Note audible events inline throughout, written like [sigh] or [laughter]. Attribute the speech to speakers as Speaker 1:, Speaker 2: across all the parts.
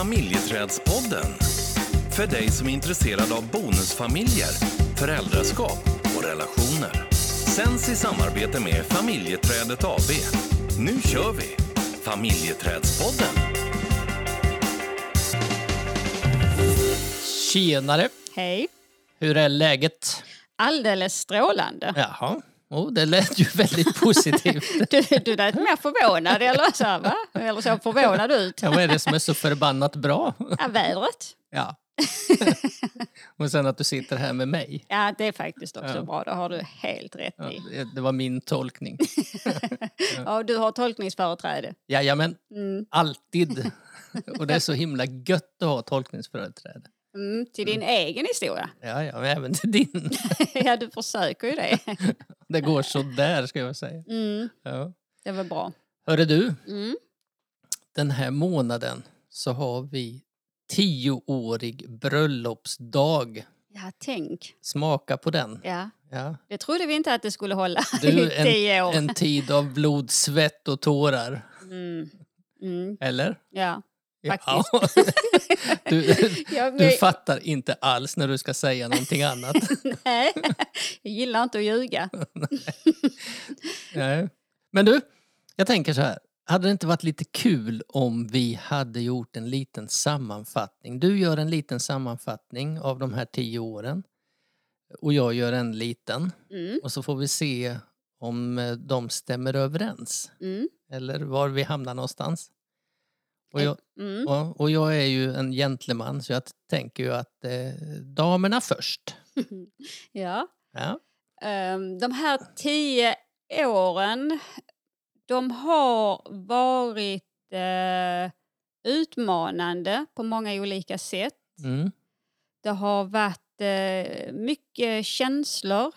Speaker 1: Familjeträdspodden. För dig som är intresserad av bonusfamiljer, föräldraskap och relationer. Sänds i samarbete med Familjeträdet AB. Nu kör vi! Familjeträdspodden.
Speaker 2: Tjenare!
Speaker 3: Hej.
Speaker 2: Hur är läget?
Speaker 3: Alldeles strålande.
Speaker 2: Jaha. Oh, det lät ju väldigt positivt.
Speaker 3: Du, du lät mer förvånad, eller så, här, va? Eller så förvånad ut.
Speaker 2: Ja, vad är det som är så förbannat bra?
Speaker 3: Ja, vädret.
Speaker 2: Ja. Och sen att du sitter här med mig.
Speaker 3: Ja, det är faktiskt också
Speaker 2: Ja.
Speaker 3: bra. Det har du helt rätt
Speaker 2: Ja,
Speaker 3: i.
Speaker 2: det- det var min tolkning.
Speaker 3: Ja, du har tolkningsföreträde.
Speaker 2: Jajamän,
Speaker 3: Mm.
Speaker 2: alltid. Och det är så himla gött att ha tolkningsföreträde.
Speaker 3: Mm, till din egen historia. [laughs]
Speaker 2: Ja, ja, men även till din.
Speaker 3: ja, du försöker ju det.
Speaker 2: Det går så där ska jag säga.
Speaker 3: Mm,
Speaker 2: Ja.
Speaker 3: det var bra.
Speaker 2: Hörru du,
Speaker 3: Mm.
Speaker 2: den här månaden så har vi tioårig bröllopsdag.
Speaker 3: Ja, tänk.
Speaker 2: Smaka på den.
Speaker 3: Ja,
Speaker 2: Ja.
Speaker 3: det trodde vi inte att det skulle hålla
Speaker 2: Du,
Speaker 3: i
Speaker 2: en,
Speaker 3: tio år.
Speaker 2: en tid av blod, svett och tårar.
Speaker 3: Mm. Mm,
Speaker 2: Eller?
Speaker 3: ja.
Speaker 2: Ja.
Speaker 3: Faktiskt.
Speaker 2: [laughs]
Speaker 3: [laughs]
Speaker 2: Du,
Speaker 3: Ja,
Speaker 2: du
Speaker 3: men,
Speaker 2: fattar inte alls när du ska säga någonting
Speaker 3: [laughs]
Speaker 2: annat.
Speaker 3: nej, jag gillar inte att ljuga.
Speaker 2: Nej. Men du, jag tänker så här. Hade det inte varit lite kul om vi hade gjort en liten sammanfattning? Du gör en liten sammanfattning av de här tio åren. Och jag gör en liten.
Speaker 3: Mm,
Speaker 2: Och så får vi se om eh, de stämmer överens.
Speaker 3: mm,
Speaker 2: Eller var vi hamnar någonstans. Och jag,
Speaker 3: mm.
Speaker 2: Ja, och jag är ju en gentleman så jag tänker ju att eh, damerna först.
Speaker 3: Ja.
Speaker 2: Ja.
Speaker 3: Ehm, De här tio åren, de har varit eh, utmanande på många olika sätt.
Speaker 2: Mm.
Speaker 3: Det har varit eh, mycket känslor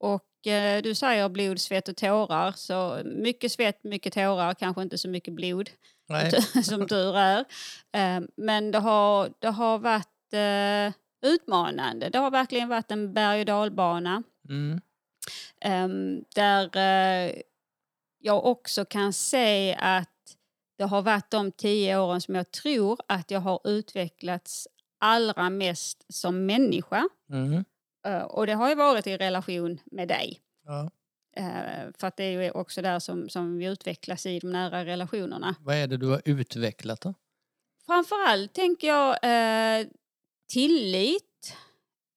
Speaker 3: och eh, du säger blod, svett och tårar. Så mycket svett, mycket tårar, kanske inte så mycket blod
Speaker 2: Nej.
Speaker 3: Typ. [laughs] som tur är. Ehm, Men det har, det har varit eh, utmanande. Det har verkligen varit en berg och dalbana.
Speaker 2: Mm.
Speaker 3: Ehm, där eh, jag också kan se att det har varit de tio åren som jag tror att jag har utvecklats allra mest som människa.
Speaker 2: Mm.
Speaker 3: Eh, och det har ju varit i relation med dig.
Speaker 2: Ja.
Speaker 3: Eh, för att det är ju också där som, som vi utvecklas i de nära relationerna.
Speaker 2: Vad är det du har utvecklat då?
Speaker 3: Framförallt tänker jag eh, tillit.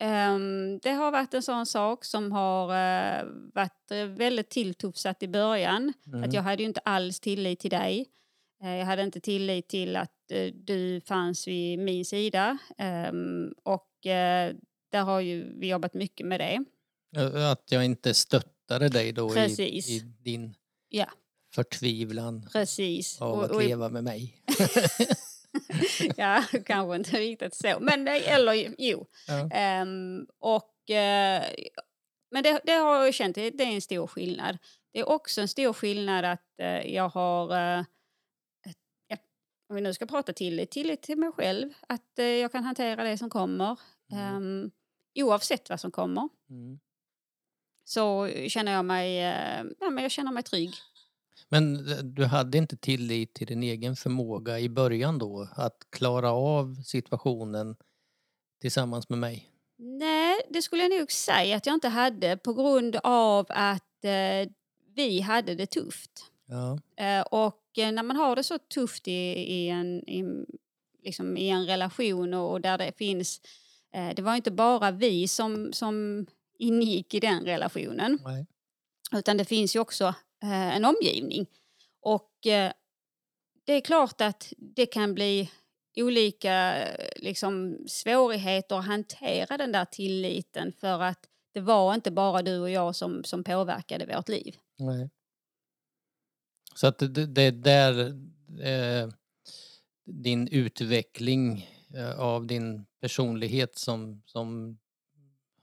Speaker 3: Ehm, det har varit en sån sak som har eh, varit eh, väldigt tilltufsat i början.
Speaker 2: Mm.
Speaker 3: Att jag hade ju inte alls tillit till dig. Eh, Jag hade inte tillit till att eh, du fanns vid min sida. Ehm, Och eh, där har ju vi jobbat mycket med det.
Speaker 2: Ö- Att jag inte stöttade dig då i,
Speaker 3: Precis.
Speaker 2: i din
Speaker 3: Ja.
Speaker 2: förtvivlan
Speaker 3: Precis.
Speaker 2: av
Speaker 3: Och-
Speaker 2: att
Speaker 3: och i-
Speaker 2: leva med mig.
Speaker 3: [laughs] ja, kanske inte riktigt så. Men det, eller jo.
Speaker 2: Ja.
Speaker 3: Ehm, och, eh, men det, det har jag ju känt, det det är en stor skillnad. Det är också en stor skillnad att eh, jag har, eh, ett- ja, om vi nu ska prata tillit, tillit till mig själv, att eh, jag kan hantera det som kommer.
Speaker 2: Mm.
Speaker 3: Ehm, oavsett vad som kommer
Speaker 2: Mm.
Speaker 3: så känner jag mig, eh, ja, men jag känner mig trygg.
Speaker 2: Men eh, du hade inte tillit till din egen förmåga i början då? Att klara av situationen tillsammans med mig?
Speaker 3: Nej, det skulle jag nog säga att jag inte hade på grund av att eh, vi hade det tufft.
Speaker 2: Ja.
Speaker 3: Eh, Och eh, när man har det så tufft i, i, en, i, liksom i en relation och, och där det finns... Eh, det var inte bara vi som, som ingick i den relationen
Speaker 2: Nej.
Speaker 3: utan det finns ju också eh, en omgivning. Och eh, det är klart att det kan bli olika eh, liksom, svårigheter att hantera den där tilliten för att det var inte bara du och jag som, som påverkade vårt liv.
Speaker 2: Nej. Så att det- det, det är där eh, din utveckling eh, av din personlighet som, som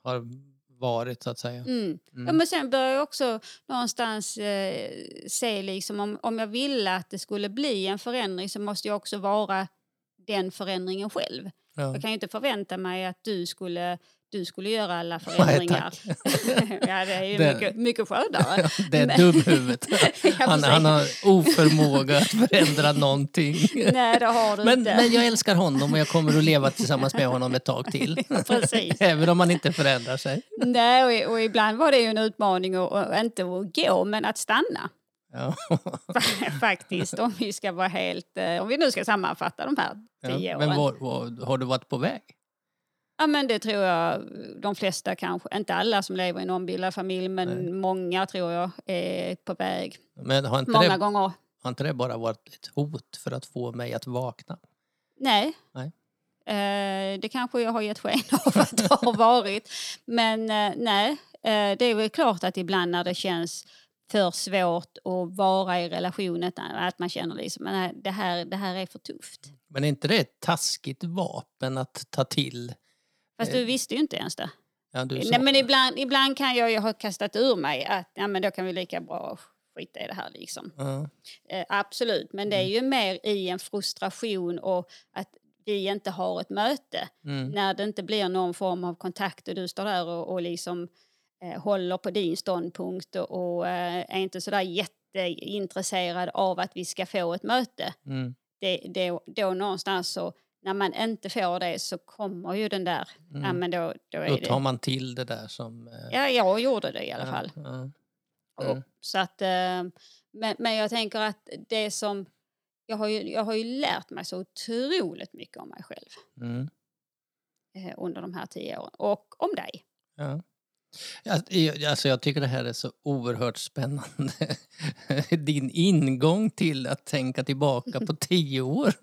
Speaker 2: har varit så att säga.
Speaker 3: Mm. Ja,
Speaker 2: Mm.
Speaker 3: men sen började jag också någonstans eh, se liksom om, om jag ville att det skulle bli en förändring så måste jag också vara den förändringen själv.
Speaker 2: Ja.
Speaker 3: Jag kan ju inte förvänta mig att du skulle, du skulle göra
Speaker 2: [laughs]
Speaker 3: alla förändringar. [laughs] ja, det är ju
Speaker 2: Det-
Speaker 3: mycket,
Speaker 2: [laughs]
Speaker 3: mycket skördare.
Speaker 2: Det är
Speaker 3: Men- [laughs]
Speaker 2: dumhuvudet.
Speaker 3: Ja,
Speaker 2: Han,
Speaker 3: precis.
Speaker 2: han har oförmåga att förändra någonting.
Speaker 3: [laughs] Nej, det har du
Speaker 2: Men,
Speaker 3: inte.
Speaker 2: men jag älskar honom och jag kommer att leva tillsammans med honom ett tag
Speaker 3: [laughs]
Speaker 2: till. [laughs]
Speaker 3: Precis.
Speaker 2: Även om man inte förändrar sig.
Speaker 3: Nej, och, och ibland var det ju en utmaning att, att inte att gå, men att stanna [laughs]
Speaker 2: Ja.
Speaker 3: faktiskt. Om vi ska vara helt... eh, Om vi nu ska sammanfatta de här tio
Speaker 2: Ja.
Speaker 3: åren.
Speaker 2: Men var, var, har du varit på väg?
Speaker 3: Ja, men det tror jag de flesta kanske, inte alla som lever i en ombildad familj, men
Speaker 2: Nej.
Speaker 3: många tror jag är på väg.
Speaker 2: Men har inte,
Speaker 3: Många
Speaker 2: det,
Speaker 3: gånger.
Speaker 2: har inte det bara varit ett hot för att få mig att vakna?
Speaker 3: Nej.
Speaker 2: Nej.
Speaker 3: Eh, det kanske jag har gett sken av att det har varit. Men eh, nej, eh, det är väl klart att ibland när det känns för svårt att vara i relationen, att man känner liksom, "Men nej, det här, det här är för tufft.
Speaker 2: Men är inte det ett taskigt vapen att ta till?
Speaker 3: Fast du visste ju inte ens det.
Speaker 2: Ja, Eh, du sa-
Speaker 3: Nej, men ibland, ibland kan jag ju ha kastat ur mig att ja, men då kan vi lika bra skita i det här liksom.
Speaker 2: Ja.
Speaker 3: Eh, absolut, men det
Speaker 2: Mm.
Speaker 3: är ju mer i en frustration och att vi inte har ett möte.
Speaker 2: Mm.
Speaker 3: När det inte blir någon form av kontakt och du står där och, och liksom eh, håller på din ståndpunkt och, och eh, är inte sådär jätteintresserad av att vi ska få ett möte.
Speaker 2: Mm.
Speaker 3: Det, det, då någonstans så, när man inte får det så kommer ju den där, ja
Speaker 2: Mm.
Speaker 3: men då, då är
Speaker 2: Då
Speaker 3: det...
Speaker 2: tar man till det där som... eh,
Speaker 3: Ja, jag gjorde det i alla fall.
Speaker 2: Ja.
Speaker 3: Och,
Speaker 2: Mm.
Speaker 3: så att, eh, men, men jag tänker att det som... Jag har, ju, jag har ju lärt mig så otroligt mycket om mig själv
Speaker 2: Mm.
Speaker 3: eh, under de här tio åren. Och om dig.
Speaker 2: Ja. Alltså, jag- Alltså jag tycker det här är så oerhört spännande. [laughs] Din ingång till att tänka tillbaka
Speaker 3: [laughs]
Speaker 2: på tio år.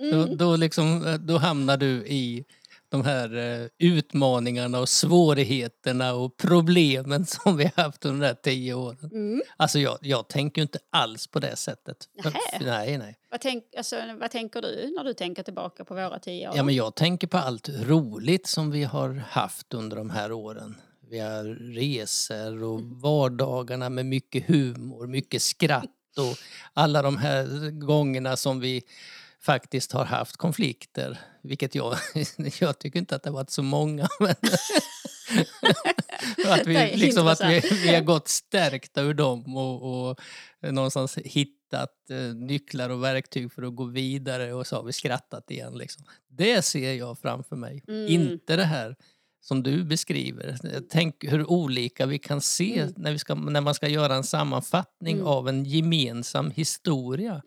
Speaker 3: Mm.
Speaker 2: Då, då, liksom, då hamnar du i de här eh, utmaningarna och svårigheterna och problemen [laughs] som vi har haft under de här tio åren.
Speaker 3: Mm.
Speaker 2: Alltså jag, jag tänker ju inte alls på det sättet.
Speaker 3: Nähä.
Speaker 2: Nej, nej.
Speaker 3: Vad, tänk, alltså, vad tänker du när du tänker tillbaka på våra tio år?
Speaker 2: Ja, men jag tänker på allt roligt som vi har haft under de här åren. Vi har resor och
Speaker 3: Mm.
Speaker 2: vardagarna med mycket humor, mycket skratt och alla de här gångerna som vi faktiskt har haft konflikter. Vilket jag, [laughs] jag tycker inte att det har varit så många. [laughs]
Speaker 3: [laughs]
Speaker 2: Men att,
Speaker 3: Det
Speaker 2: vi,
Speaker 3: är
Speaker 2: liksom att vi, vi har gått stärkta ur dem och, och eh, någonstans hittat eh, nycklar och verktyg för att gå vidare och så har vi skrattat igen. Liksom. Det ser jag framför mig.
Speaker 3: Mm.
Speaker 2: Inte det här som du beskriver. Tänk hur olika vi kan se
Speaker 3: Mm.
Speaker 2: när, vi ska, när man ska göra en sammanfattning
Speaker 3: Mm.
Speaker 2: av en gemensam historia.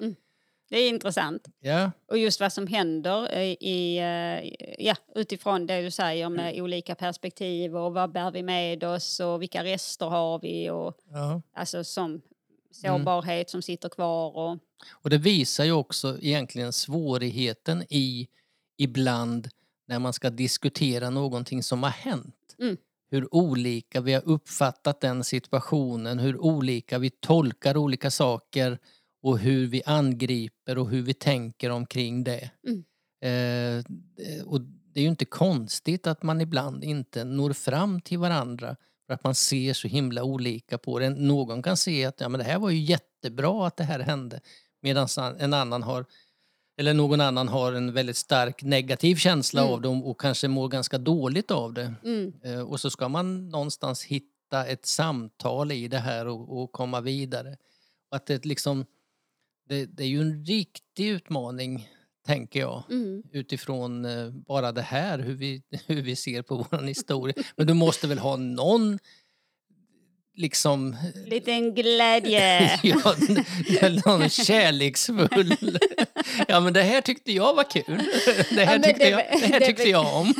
Speaker 3: Det är intressant.
Speaker 2: Ja,
Speaker 3: Och just vad som händer eh, i, eh, ja, utifrån det du säger med
Speaker 2: Mm.
Speaker 3: olika perspektiv och vad bär vi med oss och vilka rester har vi och
Speaker 2: ja.
Speaker 3: alltså
Speaker 2: Mm.
Speaker 3: som sårbarhet som sitter kvar och
Speaker 2: Och det visar ju också egentligen svårigheten i ibland när man ska diskutera någonting som har hänt.
Speaker 3: Mm.
Speaker 2: Hur olika vi har uppfattat den situationen, hur olika vi tolkar olika saker och hur vi angriper och hur vi tänker omkring det.
Speaker 3: Mm.
Speaker 2: Eh, och det är ju inte konstigt att man ibland inte når fram till varandra för att man ser så himla olika på det. Någon kan se att ja, men det här var ju jättebra att det här hände medan en annan har eller någon annan har en väldigt stark negativ känsla
Speaker 3: Mm.
Speaker 2: av dem och kanske mår ganska dåligt av det.
Speaker 3: mm,
Speaker 2: Eh, Och så ska man någonstans hitta ett samtal i det här och, och komma vidare. Och att det, liksom, det, det är ju en riktig utmaning, tänker jag
Speaker 3: mm.
Speaker 2: utifrån eh, bara det här, hur vi, [laughs] hur vi ser på vår historia. Men du måste väl ha någon liksom... [laughs]
Speaker 3: Liten glädje.
Speaker 2: ja, n- någon kärleksfull... [laughs] ja, men det här tyckte jag var kul. Det här
Speaker 3: men
Speaker 2: tyckte,
Speaker 3: det-
Speaker 2: jag, det här
Speaker 3: det-
Speaker 2: tyckte jag
Speaker 3: [laughs]
Speaker 2: om.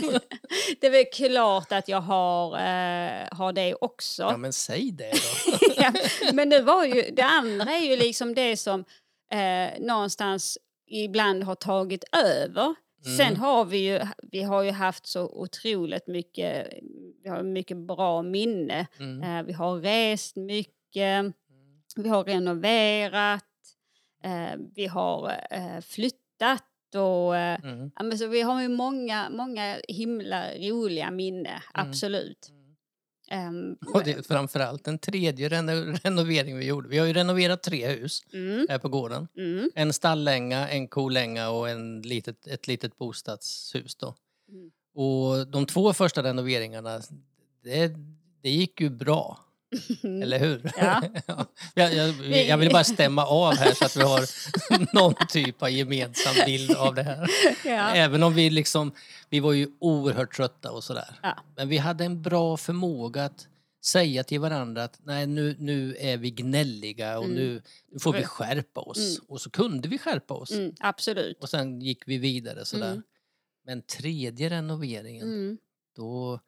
Speaker 3: Det är väl klart att jag har, eh, har det också. [laughs]
Speaker 2: Ja, men säg det då.
Speaker 3: Ja, men det, var ju, det andra är ju liksom det som eh, någonstans ibland har tagit över.
Speaker 2: Mm.
Speaker 3: Sen har vi ju, vi har ju haft så otroligt mycket, vi har mycket bra minne.
Speaker 2: Mm.
Speaker 3: Eh, vi har rest mycket, vi har renoverat, eh, vi har eh, flyttat och eh,
Speaker 2: Mm.
Speaker 3: Ja, men så vi har ju många, många himla roliga minne, absolut. Ehm,
Speaker 2: Och det är framförallt den tredje reno- renoveringen vi gjorde. Vi har ju renoverat tre hus
Speaker 3: mm,
Speaker 2: här på gården.
Speaker 3: mm,
Speaker 2: En stallänga, en kolänga och en litet, ett litet bostadshus. Då.
Speaker 3: Mm.
Speaker 2: Och de två första renoveringarna, det, det gick ju
Speaker 3: [laughs]
Speaker 2: bra. Eller hur?
Speaker 3: Ja.
Speaker 2: [laughs] Ja. jag, jag, jag vill bara stämma av här så att vi har [laughs] någon typ av gemensam bild av det här.
Speaker 3: [laughs] ja.
Speaker 2: Även om vi liksom, vi var ju oerhört trötta och sådär.
Speaker 3: Ja.
Speaker 2: Men vi hade en bra förmåga att säga till varandra att nej nu, nu är vi gnälliga och
Speaker 3: Mm.
Speaker 2: nu, nu får vi skärpa oss.
Speaker 3: Mm.
Speaker 2: Och så kunde vi skärpa oss.
Speaker 3: Mm, absolut.
Speaker 2: Och sen gick vi vidare sådär.
Speaker 3: Mm.
Speaker 2: Men tredje renoveringen,
Speaker 3: Mm.
Speaker 2: då...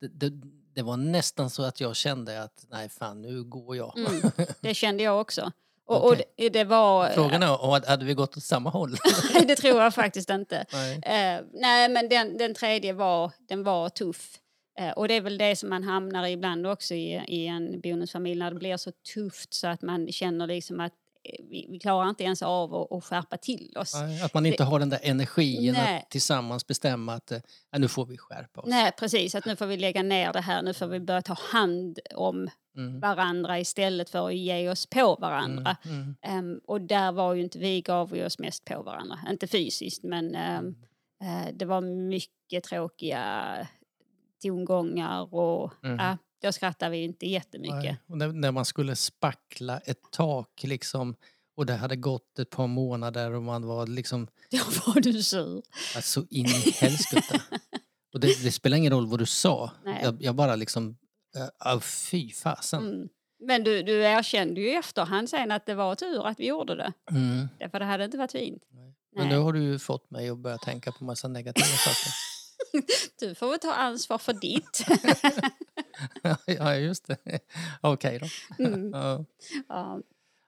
Speaker 2: Det, det, det var nästan så att jag kände att nej fan nu går jag. [laughs]
Speaker 3: Mm. Det kände jag också. Och,
Speaker 2: Okej.
Speaker 3: och det, det var...
Speaker 2: Frågan är om hade vi gått åt samma håll?
Speaker 3: [laughs] det tror jag faktiskt inte.
Speaker 2: nej.
Speaker 3: Eh, [laughs] nej, men den, den tredje var, den var tuff. Eh, och det är väl det som man hamnar i ibland också i, i en bonusfamilj när det blir så tufft så att man känner liksom att eh, vi, vi klarar inte ens av att, att skärpa till oss. Nej,
Speaker 2: Nej, Att man inte har den där energin
Speaker 3: Nej.
Speaker 2: att tillsammans bestämma att eh, ja, nu får vi skärpa oss.
Speaker 3: precis. Att nu får vi lägga ner det här. Nu får vi börja ta hand om
Speaker 2: Mm.
Speaker 3: varandra istället för att ge oss på varandra.
Speaker 2: Mm. Mm.
Speaker 3: Ehm, och där var ju inte vi, gav vi oss mest på varandra. Inte fysiskt, men ehm, eh, det var mycket tråkiga tongångar och
Speaker 2: Mm.
Speaker 3: ja, då skrattade vi inte jättemycket.
Speaker 2: Nej. Och när, när man skulle spackla ett tak liksom, och det hade gått ett par månader och man var liksom
Speaker 3: [laughs] Då var du sur.
Speaker 2: Alltså in
Speaker 3: [laughs]
Speaker 2: i helskotta. Och det, det spelar ingen roll vad du sa.
Speaker 3: Nej.
Speaker 2: Jag, jag bara liksom... Äh, fy fasen.
Speaker 3: Mm. Men du, du erkände ju i efterhand sen att det var tur att vi gjorde det.
Speaker 2: Mm.
Speaker 3: Därför det hade inte varit fint.
Speaker 2: Men
Speaker 3: Nej.
Speaker 2: nu har du ju fått mig att börja tänka på massa negativa saker.
Speaker 3: [laughs]
Speaker 2: [laughs]
Speaker 3: Du får väl ta ansvar för ditt.
Speaker 2: ja, just det. [laughs] Okej då.
Speaker 3: Mm.
Speaker 2: Ja.
Speaker 3: Ja.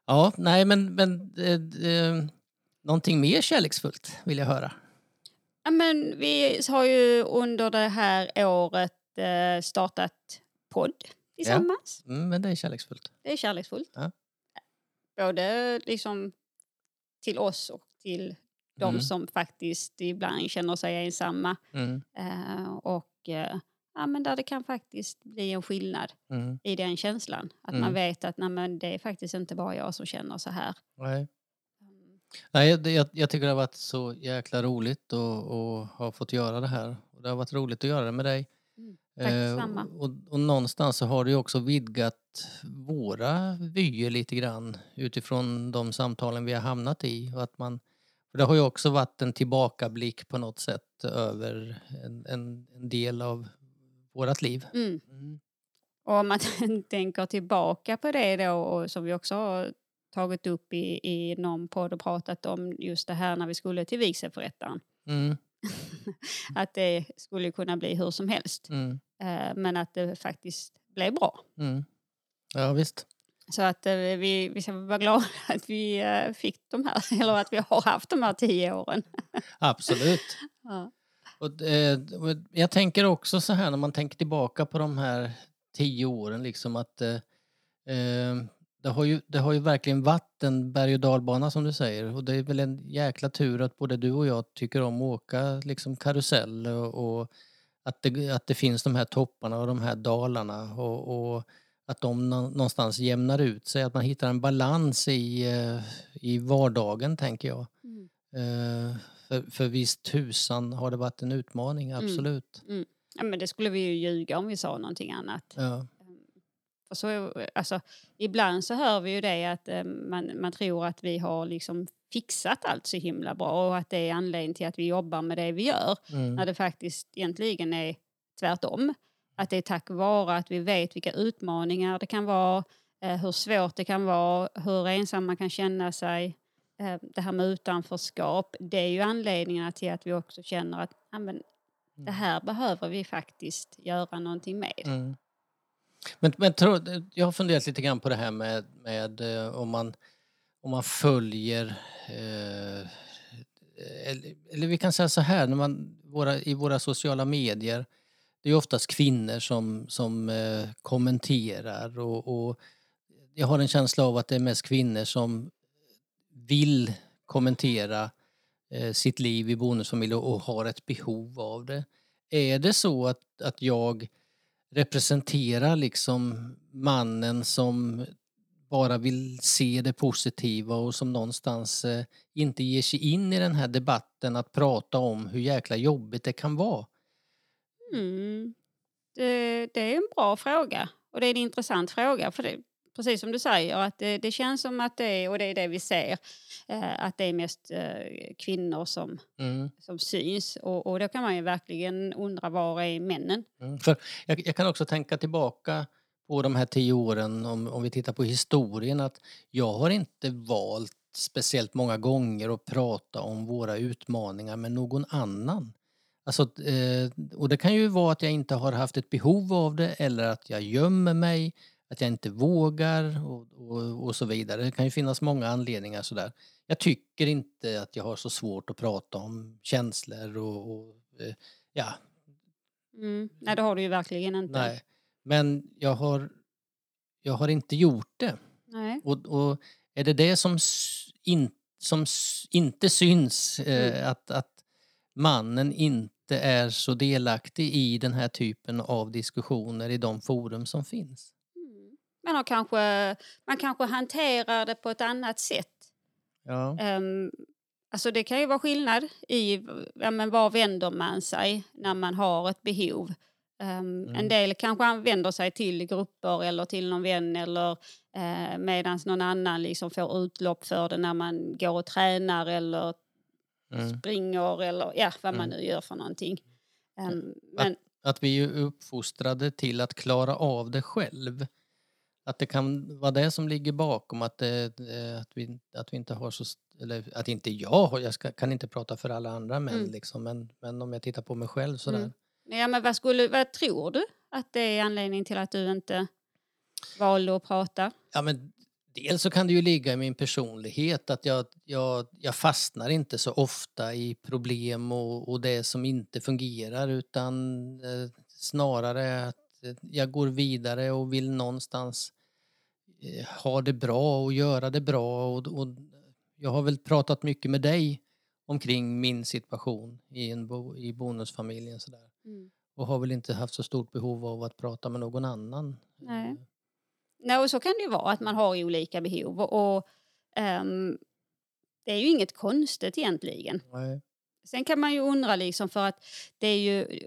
Speaker 2: Ja, nej men... men eh, eh, någonting mer kärleksfullt vill jag höra.
Speaker 3: Ja, men vi har ju under det här året eh, startat podd tillsammans.
Speaker 2: Mm, men det är kärleksfullt.
Speaker 3: Det är kärleksfullt.
Speaker 2: Ja.
Speaker 3: Både liksom till oss och till de
Speaker 2: Mm.
Speaker 3: som faktiskt ibland känner sig ensamma.
Speaker 2: Mm.
Speaker 3: Eh, och eh, ja, men där det kan faktiskt bli en skillnad
Speaker 2: Mm.
Speaker 3: i den känslan. Att
Speaker 2: Mm.
Speaker 3: man vet att nej, men det är faktiskt inte bara jag som känner så här.
Speaker 2: Nej. Nej, det- jag, jag tycker det har varit så jäkla roligt och, och ha fått göra det här. Och det har varit roligt att göra det med dig. Eh,
Speaker 3: Mm, tack detsamma.
Speaker 2: och, och någonstans så har du ju också vidgat våra vyer lite grann utifrån de samtalen vi har hamnat i. Och att man, för det har ju också varit en tillbakablick på något sätt över en, en, en del av vårt liv.
Speaker 3: Mm. Och om man [laughs] tänker tillbaka på det då, och som vi också har tagit upp i, i någon podd och pratat om just det här när vi skulle till vigselförrättaren.
Speaker 2: Mm,
Speaker 3: Att det skulle kunna bli hur som helst.
Speaker 2: mm,
Speaker 3: Eh, men att det faktiskt blev bra.
Speaker 2: mm. Ja, visst.
Speaker 3: Så att eh, vi, vi ska vara glada [laughs] att vi eh, fick de här, [laughs] eller att vi har haft de här tio åren.
Speaker 2: Absolut.
Speaker 3: Ja.
Speaker 2: Och, eh, och jag tänker också så här när man tänker tillbaka på de här tio åren liksom att eh, eh, det, har ju, det har ju verkligen varit en berg och dalbana som du säger och det är väl en jäkla tur att både du och jag tycker om att åka liksom karusell och, och att, det, att det finns de här topparna och de här dalarna och, och att de nå- någonstans jämnar ut sig, att man hittar en balans i, eh, i vardagen tänker jag.
Speaker 3: Mm.
Speaker 2: Eh, för, för visst tusan har det varit en utmaning, absolut.
Speaker 3: Ja, men det skulle vi ju ljuga om vi sa någonting annat.
Speaker 2: Ja.
Speaker 3: För så, är- alltså, ibland så hör vi ju det att eh, man, man tror att vi har liksom fixat allt så himla bra och att det är anledningen till att vi jobbar med det vi gör.
Speaker 2: Mm.
Speaker 3: när det faktiskt egentligen är tvärtom. Att det är tack vare att vi vet vilka utmaningar det kan vara, eh, hur svårt det kan vara, hur ensam man kan känna sig. Eh, det här med utanförskap, det är ju anledningarna till att vi också känner att "Ja, men, det här behöver vi faktiskt göra någonting med.
Speaker 2: Mm. Men, men tro, jag har funderat lite grann på det här med, med eh, om, man, om man följer... Eh, eller, eller vi kan säga så här, när man, våra, i våra sociala medier det är ju oftast kvinnor som, som eh, kommenterar och, och jag har en känsla av att det är mest kvinnor som vill kommentera eh, sitt liv i bonusfamilj och, och har ett behov av det. Är det så att, att jag representerar liksom mannen som bara vill se det positiva och som någonstans eh, inte ger sig in i den här debatten att prata om hur jäkla jobbigt det kan vara.
Speaker 3: Mm. Det, det är en bra fråga och det är en intressant fråga. För det, precis som du säger, att det, det känns som att det är, och det är det vi ser, eh, att det är mest eh, kvinnor som,
Speaker 2: Mm.
Speaker 3: som syns. Och, och då kan man ju verkligen undra var är männen?
Speaker 2: Mm. För jag, jag kan också tänka tillbaka på de här tio åren, om, om vi tittar på historien, att jag har inte valt speciellt många gånger att prata om våra utmaningar med någon annan. Alltså, eh, och det kan ju vara att jag inte har haft ett behov av det eller att jag gömmer mig, att jag inte vågar och, och, och så vidare. Det kan ju finnas många anledningar sådär. Jag tycker inte att jag har så svårt att prata om känslor och, och eh, ja,
Speaker 3: Mm. Nej, det har du ju verkligen inte.
Speaker 2: Nej, men jag har, jag har inte gjort det.
Speaker 3: Nej.
Speaker 2: Och, och är det det som, s- in, som s- inte syns, eh, att, att mannen inte är så delaktig i den här typen av diskussioner i de forum som finns?
Speaker 3: Mm. Man, har kanske, man kanske hanterar det på ett annat sätt.
Speaker 2: Ja.
Speaker 3: Um, alltså det kan ju vara skillnad i ja, men var vänder man sig när man har ett behov. Ehm,
Speaker 2: Mm.
Speaker 3: En del kanske an- vänder sig till grupper eller till någon vän eller eh, medan någon annan liksom får utlopp för det när man går och tränar eller
Speaker 2: Mm.
Speaker 3: springer eller ja, vad man
Speaker 2: Mm.
Speaker 3: nu gör för någonting. Ehm,
Speaker 2: Ja.
Speaker 3: men,
Speaker 2: Att vi är uppfostrade till att klara av det själv. Att det kan vara det som ligger bakom att, det, eh, att, vi, att vi inte har så... st- Eller att inte jag har, jag ska, kan inte prata för alla andra män
Speaker 3: Mm.
Speaker 2: liksom, men, men om jag tittar på mig själv sådär.
Speaker 3: Mm. ja, men vad, skulle, vad tror du att det är anledningen till att du inte valde att prata?
Speaker 2: Ja, men dels så kan det ju ligga i min personlighet att jag, jag, jag fastnar inte så ofta i problem och, och det som inte fungerar utan eh, snarare att eh, jag går vidare och vill någonstans eh, ha det bra och göra det bra. Och, och jag har väl pratat mycket med dig omkring min situation i, en bo, i bonusfamiljen sådär.
Speaker 3: Mm.
Speaker 2: och har väl inte haft så stort behov av att prata med någon annan. Eh,
Speaker 3: Nej. Nej, och så kan det ju vara att man har olika behov. Och, och, ehm, det är ju inget konstigt egentligen.
Speaker 2: Nej.
Speaker 3: Sen kan man ju undra liksom för att det är ju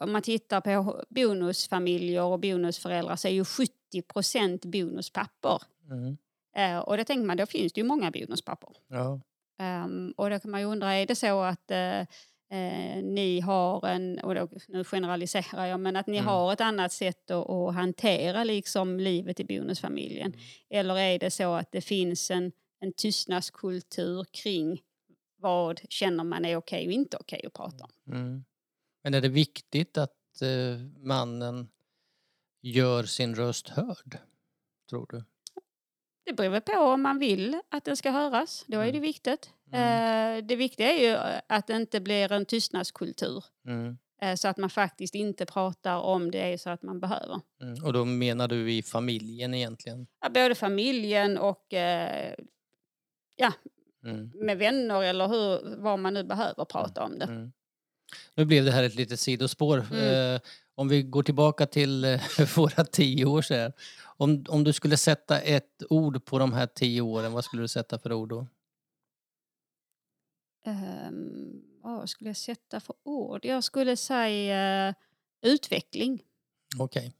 Speaker 3: om man tittar på bonusfamiljer och bonusföräldrar så är ju 70 procent bonuspappor.
Speaker 2: Mm.
Speaker 3: Eh, och då tänker man, då finns det ju många bonuspappor.
Speaker 2: Ja.
Speaker 3: Ehm, och då kan man ju undra, är det så att eh, eh, ni har en, och då, nu generaliserar jag, men att ni
Speaker 2: Mm.
Speaker 3: har ett annat sätt att, att hantera liksom livet i bonusfamiljen? Eller är det så att det finns en, en tystnadskultur kring vad känner man är okej och inte okej att prata om?
Speaker 2: Mm. Men är det viktigt att eh, mannen gör sin röst hörd, tror du?
Speaker 3: Det beror väl på om man vill att den ska höras, då är det
Speaker 2: Mm.
Speaker 3: viktigt. Eh, det viktiga är ju eh, att det inte blir en tystnadskultur
Speaker 2: Mm.
Speaker 3: eh, så att man faktiskt inte pratar om det är så att man behöver.
Speaker 2: Mm. Och då menar du i familjen egentligen?
Speaker 3: ja, både familjen och eh,
Speaker 2: Mm.
Speaker 3: med vänner eller hur, vad man nu behöver prata om det.
Speaker 2: Mm. Nu blev det här ett litet sidospår.
Speaker 3: Mm.
Speaker 2: Eh, om vi går tillbaka till eh, [laughs] våra tio år så här. Om, om du skulle sätta ett ord på de här tio åren, vad skulle du sätta för ord då?
Speaker 3: Ehm, vad skulle jag sätta för ord? Jag skulle säga eh, utveckling.
Speaker 2: Okej.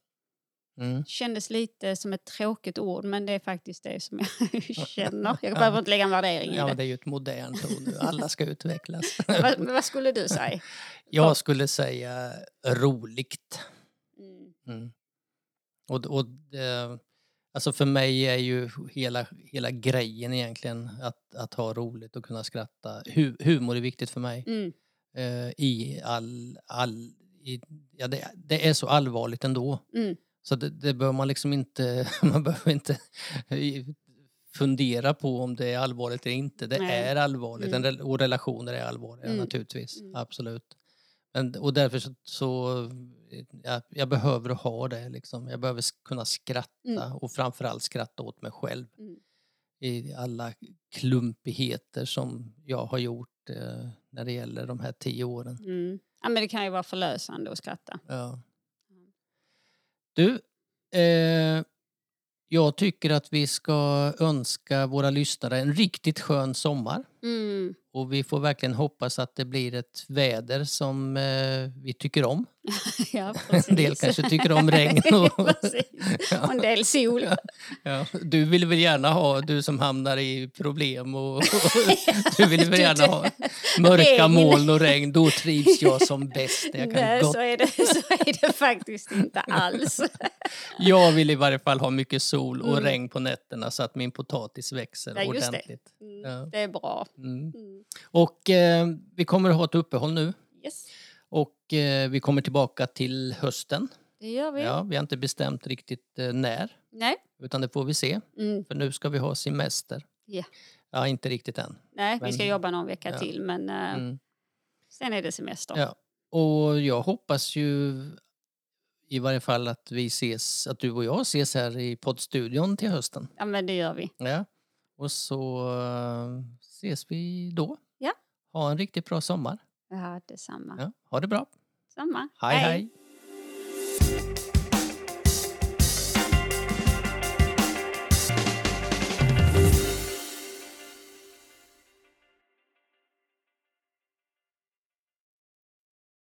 Speaker 2: Mm.
Speaker 3: Kändes lite som ett tråkigt ord men det är faktiskt det som jag [laughs] känner. Jag
Speaker 2: Ja.
Speaker 3: behöver inte lägga en värdering i
Speaker 2: Ja, men det
Speaker 3: det.
Speaker 2: är ju ett modernt ord nu. Alla ska utvecklas.
Speaker 3: [laughs] Vad, men vad skulle du säga?
Speaker 2: Jag skulle säga roligt.
Speaker 3: Mm.
Speaker 2: Mm. Och, och eh, alltså för mig är ju hela, hela grejen egentligen att, att ha roligt och kunna skratta. Hu, humor är viktigt för mig.
Speaker 3: Mm.
Speaker 2: Eh, I all... all i, ja, det, det är så allvarligt ändå.
Speaker 3: Mm.
Speaker 2: Så det, det bör man liksom inte... [laughs] Man behöver inte i- fundera på om det är allvarligt eller inte. Det
Speaker 3: Nej.
Speaker 2: är allvarligt
Speaker 3: Mm.
Speaker 2: en rel- och relationer är allvarliga
Speaker 3: Mm.
Speaker 2: naturligtvis.
Speaker 3: Mm.
Speaker 2: Absolut. Men, och därför så... så ja, jag behöver ha det liksom. Jag behöver sk- kunna skratta
Speaker 3: Mm.
Speaker 2: och framförallt skratta åt mig själv.
Speaker 3: Mm.
Speaker 2: I alla klumpigheter som jag har gjort eh, när det gäller de här tio åren.
Speaker 3: Mm. Ja, men det kan ju vara förlösande att skratta.
Speaker 2: Ja. Du, eh, jag tycker att vi ska önska våra lyssnare en riktigt skön sommar.
Speaker 3: Mm. [laughs]
Speaker 2: Och vi får verkligen hoppas att det blir ett väder som eh, vi tycker om.
Speaker 3: ja,
Speaker 2: En del
Speaker 3: precis.
Speaker 2: kanske tycker om regn.
Speaker 3: [laughs]
Speaker 2: Och, [laughs]
Speaker 3: Precis. Och en del sol.
Speaker 2: ja. Du vill väl gärna ha, du som hamnar i problem och, och du vill
Speaker 3: [laughs]
Speaker 2: väl
Speaker 3: Du-
Speaker 2: gärna ha mörka
Speaker 3: regn.
Speaker 2: moln och regn. Då trivs jag som bäst. Jag, kan
Speaker 3: Nej,
Speaker 2: gott,
Speaker 3: så är, det, [laughs] så är det faktiskt
Speaker 2: [laughs]
Speaker 3: inte alls.
Speaker 2: jag vill i varje fall ha mycket sol och
Speaker 3: Mm.
Speaker 2: regn på nätterna så att min potatis växer
Speaker 3: Ja, just det.
Speaker 2: ordentligt.
Speaker 3: Mm,
Speaker 2: Ja.
Speaker 3: Det är bra.
Speaker 2: Mm.
Speaker 3: Mm.
Speaker 2: Och eh, vi kommer att ha ett uppehåll nu
Speaker 3: Yes,
Speaker 2: och eh, vi kommer tillbaka till hösten.
Speaker 3: det gör vi.
Speaker 2: Ja, vi har inte bestämt riktigt eh, när,
Speaker 3: Nej.
Speaker 2: utan det får vi se.
Speaker 3: Mm.
Speaker 2: För nu ska vi ha semester.
Speaker 3: Ja.
Speaker 2: Ja, inte riktigt än.
Speaker 3: Nej, vi ska
Speaker 2: Men-
Speaker 3: jobba någon vecka
Speaker 2: ja.
Speaker 3: till men eh,
Speaker 2: Mm.
Speaker 3: sen är det semester.
Speaker 2: Ja. Och jag hoppas ju i varje fall att vi ses, att du och jag ses här i poddstudion till hösten.
Speaker 3: Ja, men det gör vi.
Speaker 2: Ja. Och så eh, ses vi då.
Speaker 3: Ja.
Speaker 2: Ha en riktigt bra sommar.
Speaker 3: Ja, detsamma.
Speaker 2: Ja. Ha det bra.
Speaker 3: Samma.
Speaker 2: hej. hej.